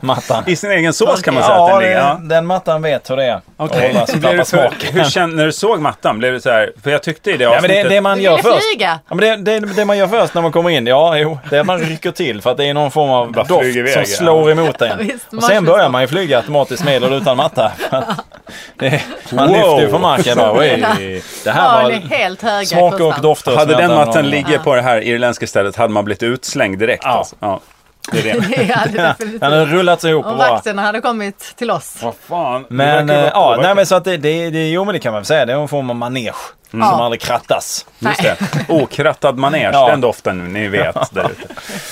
A: Mattan.
C: I sin egen sås kan man säga
A: Ja,
C: att den ligger. Ja.
A: den, den mattan vet hur det är.
C: Okej.
A: Och hålla sig,
C: Blev
A: tappa
C: du för-
A: smaken.
C: Hur kände, när du såg mattan, blev det så här, för jag tyckte i det
A: Ja, men
C: avsnittet,
A: det, det man
B: Du
A: gör
B: ville
A: först.
B: flyga.
A: Ja, men det, det, det man gör först när man kommer in, ja jo, det är att man rycker till för att det är någon form av
C: Bara
A: doft
C: flyger iväg,
A: som
C: ja.
A: slår emot en.
B: visst,
A: och sen
B: marschen-
A: börjar man ju flyga automatiskt med eller utan matta. det, man
C: Wow.
A: lyfter ju från marken bara, oj, det här
B: Ja, ni är
A: var
B: helt höga i
A: smaker och
B: kostan.
A: dofter. som
C: hade
A: jag
C: den
A: inte hade
C: mattan
A: någon-
C: ligger på det här irländska stället hade man blivit utslängd direkt.
A: Ja.
C: Alltså. Ja. Det är det.
B: Det hade definitivt.
A: Den hade rullats ihop och
B: Om
A: bara...
B: vakterna hade kommit till oss.
C: Vad fan. det
A: Men
C: verkar
A: eh, ja,
C: vara
A: nej
C: påverkat.
A: men så att det, det, det, jo men det kan man väl säga, det är en form av manege
C: Mm.
A: som
B: Ja.
A: aldrig krattas.
C: Just det. Okrattad manege,
A: Ja.
C: den doften ni vet där ute.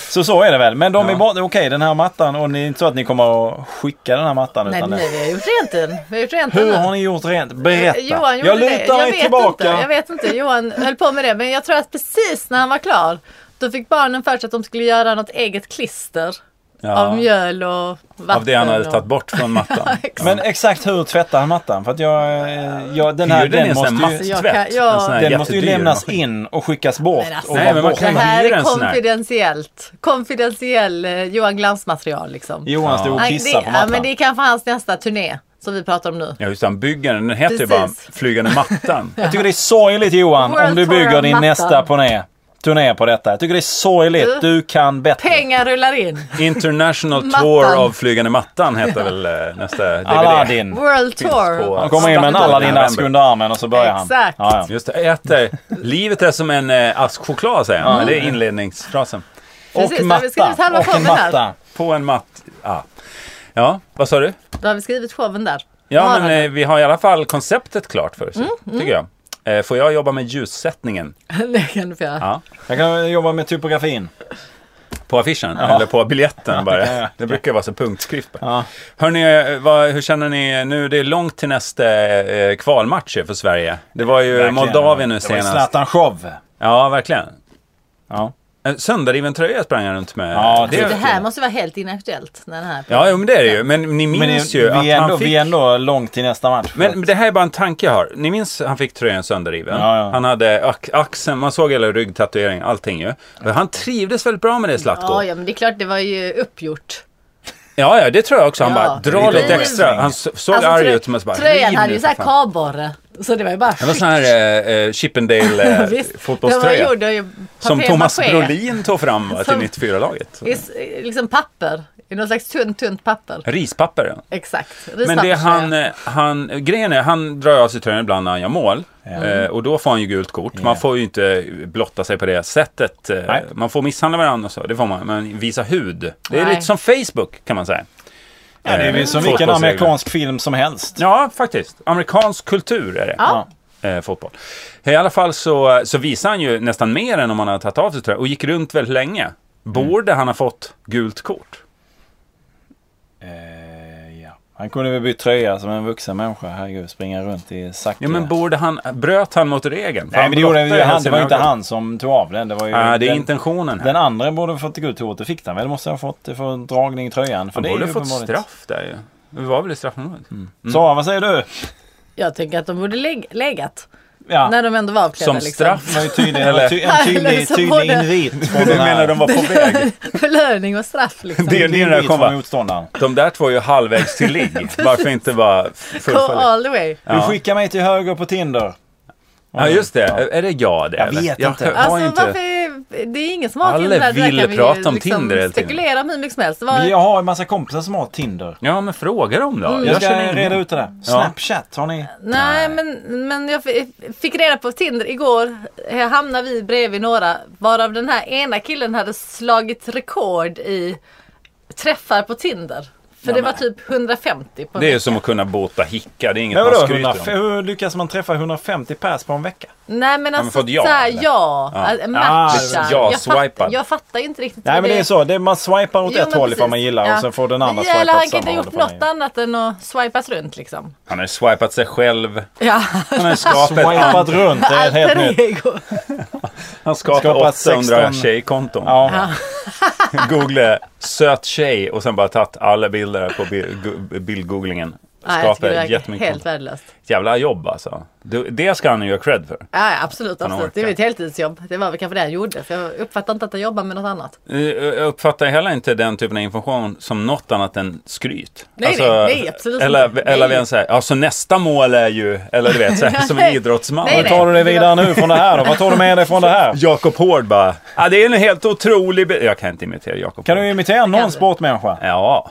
A: Så så är det väl. Men de
C: Ja.
A: är bara, okej den här mattan och det är inte så att ni kommer att skicka den här mattan
B: Nej,
A: utan
B: nej,
A: det.
B: vi har gjort rent den. Vi har gjort rent den
A: Hur
B: nu.
A: har ni gjort rent? Berätta.
B: Eh, Johan gjorde
A: jag
B: det.
A: lutar mig
B: vet
A: tillbaka.
B: Inte, jag vet inte. Johan höll på med det. Men jag tror att precis när han var klar, då fick barnen för sig att de skulle göra något eget klister
C: Ja.
B: av mjöl och vatten.
C: Av det han hade
B: och...
C: tagit bort från mattan.
B: Exakt.
A: Men exakt hur tvättar han mattan? För att jag, eh, jag den här,
C: Hyrde ni
A: den
C: en sån
A: måste
C: här
A: ju,
B: jag
C: masstvätt?
B: kan- ja.
C: En sån här
A: den måste ju
C: jättedyr
A: lämnas
C: maskin.
A: in och skickas bort.
B: Men alltså,
A: och
C: Nej,
A: vara
C: men man
A: bort.
B: det
C: kan-
B: här
C: hyra
B: är
C: en sån här.
B: konfidentiellt. Konfidentiell eh, Johan Glans-material liksom.
A: Johan stod och
B: Nej, det,
A: kissade på
B: ja,
A: mattan.
B: men det är kanske hans nästa turné som vi pratar om nu.
C: Ja, just det, han bygger den. Den heter ju bara
B: Precis.
C: Flygande mattan.
A: Jag tycker det är sorgligt Johan
B: World
A: om du
B: Tour
A: bygger
B: av
A: din
B: mattan.
A: nästa turné, turné på detta. Jag tycker det är sorgligt.
B: Du,
A: Du kan bättre.
B: Pengar rullar in.
C: Mm. International
B: Mattan.
C: Tour av Flygande mattan heter väl eh, nästa DVD.
A: Aladdin.
B: World
C: Finns på-
B: Tour.
A: Han kommer in med en
B: Stockholm.
A: Aladdin-ask under armen och så börjar han.
B: Exakt.
A: Ja, ja.
C: Just det, äter. Livet är som en eh, ask choklad säger han. Det är inledningsfrasen.
B: Precis,
A: Och
B: ja, vi ska just halva
A: matta. Och en
B: showen här.
A: matta.
C: På en matt... Ah. Ja, vad sa du?
B: Då har vi skrivit showen där. Då
C: Ja,
B: har
C: men
B: han
C: eh, vi har i alla fall konceptet klart för oss,
B: Mm,
C: tycker jag. Eh, får jag jobba med ljussättningen
B: den. Det kan du få göra.
C: eh, Ja.
A: Jag kan jobba med typografin.
C: på affischen? Eller på biljetten bara? Det brukar vara så punktskrift bara.
A: Ja.
C: Hörrni, eh, vad, hur känner ni nu? Det är långt till nästa eh, kvalmatch ju för Sverige. Det var ju
A: Verkligen.
C: Moldavien nu
A: Det var ju
C: senast.
A: Zlatan-show.
C: Ja, verkligen.
A: Ja.
C: En sönderriven tröja sprang han runt med.
A: Ja,
C: det
A: typ.
B: Det
C: är,
B: här måste vara helt inaktuellt. När den här
C: ja jo, men det är det ju. Men ni
A: Men
C: minns
A: det,
C: ju
A: vi,
C: att
A: är ändå,
C: han fick...
A: vi är ändå långt till nästa match.
C: Men det här är bara en tanke jag har. Ni minns han fick tröjan sönderriven?
A: Ja, ja.
C: Han hade ax- axeln, man såg hela ryggtatueringen, allting ju. Och Han trivdes väldigt bra med det Zlatko.
B: Ja,
C: Ja,
B: ja, men det är klart det var ju uppgjort.
C: ja, det tror jag också. Han
B: Ja.
C: bara drar
A: Lite
C: lite extra.
A: upphetsning.
C: Han s- såg
B: Alltså,
C: arg
B: trö-
C: ut. Men så bara,
B: Tröjan
C: "Riv
B: hade
C: nu,
B: ju
C: för
B: såhär
C: fan."
B: kabborre. Så det var ju bara
C: Det var sån här eh, Chippendale eh,
B: Visst, Den var
C: fotbollströja.
B: gjord av ju
C: Som
B: papier-maché.
C: Thomas Brolin tog fram va, till
B: Som-
C: 94-laget.
B: Visst, eh, liksom papper. I något slags tunt, tunt papper.
C: Rispapper. ja.
B: Exakt.
C: Men det är han,
B: Rispapperströja.
C: eh, han, grejen är, han drar av sig tröjan ibland när han gör mål.
B: Mm.
C: Eh, och då får han ju gult kort. Man får ju inte blotta sig på det sättet. Eh,
A: Nej.
C: man får misshandla varandra och så, det får man. Men visa hud. Det är
B: Nej.
C: lite som Facebook kan man säga.
A: ja, det är väl som vilken
C: fotbollsregler.
A: amerikansk film som helst.
C: Ja, faktiskt. Amerikansk kultur är det.
B: Ja.
C: Eh, fotboll. I alla fall så, så visar han ju nästan mer än om han hade tagit av sig tröjan och gick runt väldigt
A: Mm.
C: länge. Borde han ha fått gult kort?
A: Eh, ja. Han kunde väl bytt tröja som en vuxen människa. Herregud, springa runt i Zacke.
C: Ja, men borde han, bröt han mot regeln? För
A: Nej,
C: han
A: men det gjorde
C: blottade
A: ju han.
C: hela
A: Det var ju
C: sina
A: inte
C: ögon.
A: han som tog av den. Det var ju
C: Ah, det är
A: den,
C: intentionen här.
A: den andra borde ha fått gå till Det fick han väl? Måste ha fått eh, för dragning i tröjan. För
C: Han
A: det är
C: borde
A: ju
C: fått
A: uppenbarligen- Mm.
C: straff Mm. där ju. Det var väl i straffområdet?
A: Sara, vad säger du?
B: Jag tänker att de borde läg- legat.
A: Ja.
B: När de ändå var avklädda.
C: Som
B: liksom.
C: straff?
A: Det var ju tydlig, en tydlig, en
B: Eller
A: tydlig,
B: så
A: tydlig
B: både-
A: invit från
C: Du
A: den här.
C: menar de var på väg?
B: Belöning och straff liksom.
C: Det är
A: Tydlig
C: det där
A: invit
C: kom
A: från
C: va?
A: motståndaren.
C: De där två är ju halvvägs till ligg. Varför inte bara
B: Go
C: fullfölja?
B: all the way.
A: Du
C: Ja.
A: skickar mig till höger på Tinder.
C: Ja just det, är det jag det
A: Jag
C: eller?
A: vet inte.
C: hör- har
B: Alltså
C: ju inte.
B: varför, det är ingen som har
C: Alla
B: Tinder. Det där
C: ville
B: kan vi ju
C: prata om Tinder hela tiden.
B: spekulera om hur mycket som helst. Det var,
A: Men jag har en massa kompisar som har Tinder.
C: Ja men fråga dem då.
A: Mm. Jag
C: Jag känner
A: ska
C: ingen-
A: reda ut det där. Snapchat, har ni?
B: Nej, men, men jag fi- fick reda på Tinder igår. Här hamnade vi bredvid några varav den här ena killen hade slagit rekord i träffar på Tinder. För det var typ 150 på en
C: Det är ju
B: vecka.
C: som att kunna bota hicka. Det är inget
A: Men vadå,
C: man skryter
A: 150,
C: om.
A: hur lyckas man träffa 150 pers på en vecka?
B: Nej men
C: man
B: alltså
C: fått
B: ja,
C: ja,
B: såhär,
C: eller?
B: ja.
C: Ja.
B: Alltså,
A: Ah,
B: matcha.
C: ja,
B: jag,
C: swipad.
B: fattar, jag fattar ju inte riktigt.
A: Nej
B: vad
A: men det är så, det är, man swipar åt
B: Jo,
A: ett
B: men
A: håll
B: precis.
A: ifall man gillar
B: Ja.
A: och sen får den andra
B: Men
A: swipa åt
B: Jävlar,
A: samma
B: han
A: håll.
B: kan inte ha gjort
A: ifall man
B: något
A: gillar.
B: annat än att swipas runt liksom.
C: Han har ju swipat sig själv.
B: Ja.
C: Han har ju skapat,
A: Swipat runt, det är helt nytt.
B: Alter ego.
C: han skapat
A: Skapat
C: 800
A: 16
C: tjejkonton.
A: Ja.
C: Googla söt tjej och sen bara tagit alla bilder på bi- gu- bildgooglingen.
B: Nej, jag tycker
C: Skapar
B: det verkar
C: jättemycket.
B: helt
C: konton.
B: värdelöst.
C: Jävla jobb alltså. Du, det ska han ju göra cred för.
B: Ja, ja, absolut,
C: Han
B: absolut. Det är
C: orkar.
B: mitt heltidsjobb. Det var väl kanske det jag gjorde. För jag uppfattar inte att jag jobbar med något annat.
C: Jag uppfattar heller inte den typen av information som något annat än skryt. Alltså,
B: Nej, nej, nej, absolut
C: eller,
B: inte.
C: Eller
B: Nej.
C: vem säger, ja så nästa mål är ju, eller du vet, så här, som en
B: Nej.
C: idrottsman.
B: Nej,
A: Hur tar du dig vidare nu från det här då? Vad tar du med dig från det här?
C: Jakob Hård bara, ja det är en helt otrolig... be-" Jag kan inte imitera Jakob
A: Kan
C: Hård.
A: du imitera någon
B: Kanske.
A: sportmänniska?
C: Ja.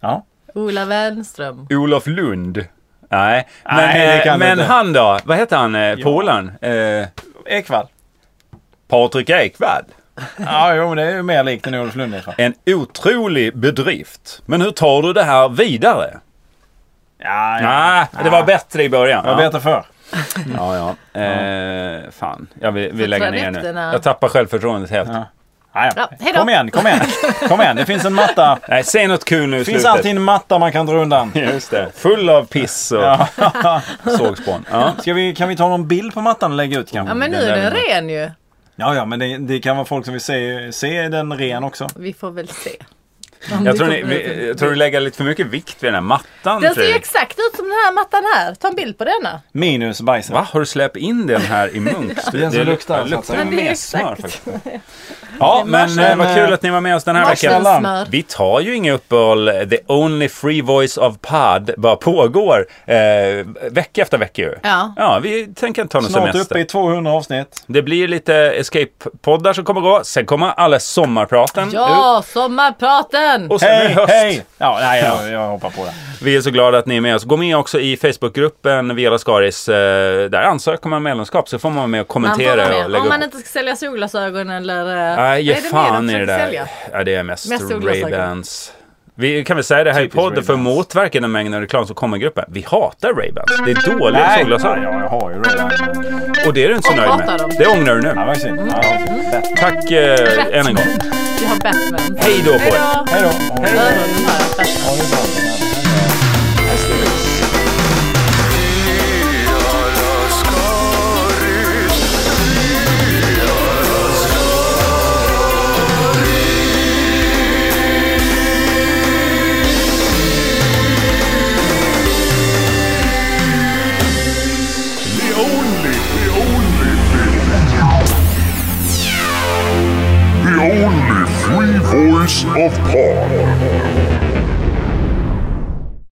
A: Ja.
B: Ola Wernström.
C: Olof Lund. Nej, men,
A: Nej, det
C: eh,
A: kan du
C: men
A: inte.
C: han då? Vad heter han, eh, polaren? Eh,
A: Ekvall?
C: Patrik Ekwall.
A: Ja, jo men det är ju mer likt än Olof Lundgren. va?
C: En otrolig bedrift. Men hur tar du det här vidare?
A: Ja,
C: Nej, det
A: Ah.
C: var bättre i början.
A: Jag vet det för.
C: Ja, ja. Eh, fan, jag vill, vill lägga ner nu.
B: toaletterna.
C: Jag tappar självförtroendet helt.
A: Ja,
B: Ja, hej då.
A: kom igen, kom igen. Kom igen, det finns en matta.
C: Nej, säg något kul nu i
A: Det finns
C: slutet.
A: alltid en matta man kan dra undan.
C: Just det. Full av piss och sågspån. Ja.
A: Ska vi, kan vi ta någon bild på mattan och lägga ut kanske?
B: Ja men nu är
C: Den Mm, där
B: den
C: vill
B: ren ju.
A: Ja, ja, men det, det kan vara folk som vill se, se den ren också.
B: Vi får väl se. Mm.
C: Jag tror, ni, vi- jag tror du lägger lite för mycket vikt vid den här mattan.
B: Den ser ju
C: Fredrik.
B: exakt ut som den här mattan här. Ta en bild på denna.
A: Minus bajset.
C: Va? Har du släppt in den här i Munks?
A: den som luktar, så att
C: luktar
A: säga.
C: ju
B: Men det är
C: mer
B: exakt.
C: smör faktiskt. Ja, men eh, vad kul att ni var med oss den här veckan.
B: Marsellsmör.
C: Vi tar ju inga uppehåll. The only free voice of pod bara pågår eh, vecka efter vecka ju.
B: Ja.
C: ja, vi tänker inte ta någon
A: Snart
C: semester.
A: uppe i 200 avsnitt.
C: Det blir lite escape-poddar som kommer gå. Sen kommer alla sommarpraten ut.
B: Ja, sommarpraten!
C: Och sen är
A: Hej,
C: det höst.
A: hej! Ja, nej, jag, jag hoppar på det.
C: Vi är så glada att ni är med oss. Gå med också i Facebookgruppen Via Lascaris. Eh, där ansöker man medlemskap så får man vara med och
B: Man får
C: kommentera
B: vara
C: och
B: med.
C: lägga
B: Om man
C: upp.
B: inte ska sälja solglasögon eller... eh,
C: Nej, ge
B: vad är det mer
C: fan
B: de
C: i det
B: försöker
C: där.
B: sälja?
C: Ja, det är mest,
B: Mest solglasögon.
C: Ray-Bans. Vi kan väl säga det här i
A: Typiskt
C: podden för att
A: Ray-Bans.
C: motverka den mängden reklam som kommer i gruppen. Vi hatar Ray-Bans. Det är dåliga
A: nej,
C: solglasögon.
A: jag jag har ju redan.
C: Och det är du inte så
B: Jag
C: nöjd
B: hatar
C: med.
B: dem.
C: Det ångrar du nu.
A: Ja, vad synd. Ja, vad synd.
C: Tack eh, än en gång.
B: Vi har Batman.
C: Hej då på er.
A: Hej då!
B: Hej då! Öronen har jag Batman.
A: Ha det bra.
E: The only, the only, the, the only free voice of Pod.